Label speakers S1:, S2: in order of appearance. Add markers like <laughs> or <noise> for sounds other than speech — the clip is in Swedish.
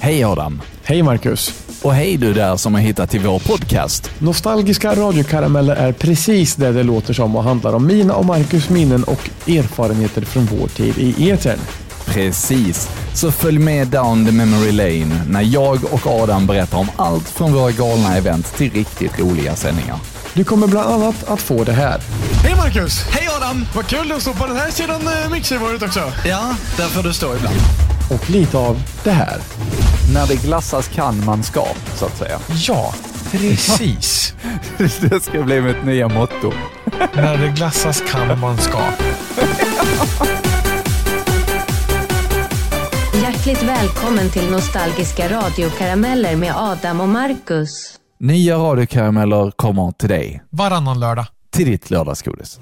S1: Hej Adam!
S2: Hej Marcus!
S1: Och hej du där som har hittat till vår podcast.
S2: Nostalgiska radiokarameller är precis det det låter som och handlar om mina och Marcus minnen och erfarenheter från vår tid i etern.
S1: Precis, så följ med down the memory lane när jag och Adam berättar om allt från våra galna event till riktigt roliga sändningar.
S2: Du kommer bland annat att få det här. Hej Marcus!
S1: Hej Adam!
S2: Vad kul att stå på den här sidan eh, mixerbordet också.
S1: Ja, där får du stå ibland.
S2: Och lite av det här.
S1: När det glassas kan man ska, så att säga. <laughs>
S3: Ja, precis.
S1: Det ska bli mitt nya motto.
S3: När det glassas kan man ska.
S4: Hjärtligt välkommen till Nostalgiska radiokarameller med Adam och Marcus.
S1: Nya radiokarameller kommer till dig,
S3: Varannan lördag.
S1: till ditt lördagsgodis.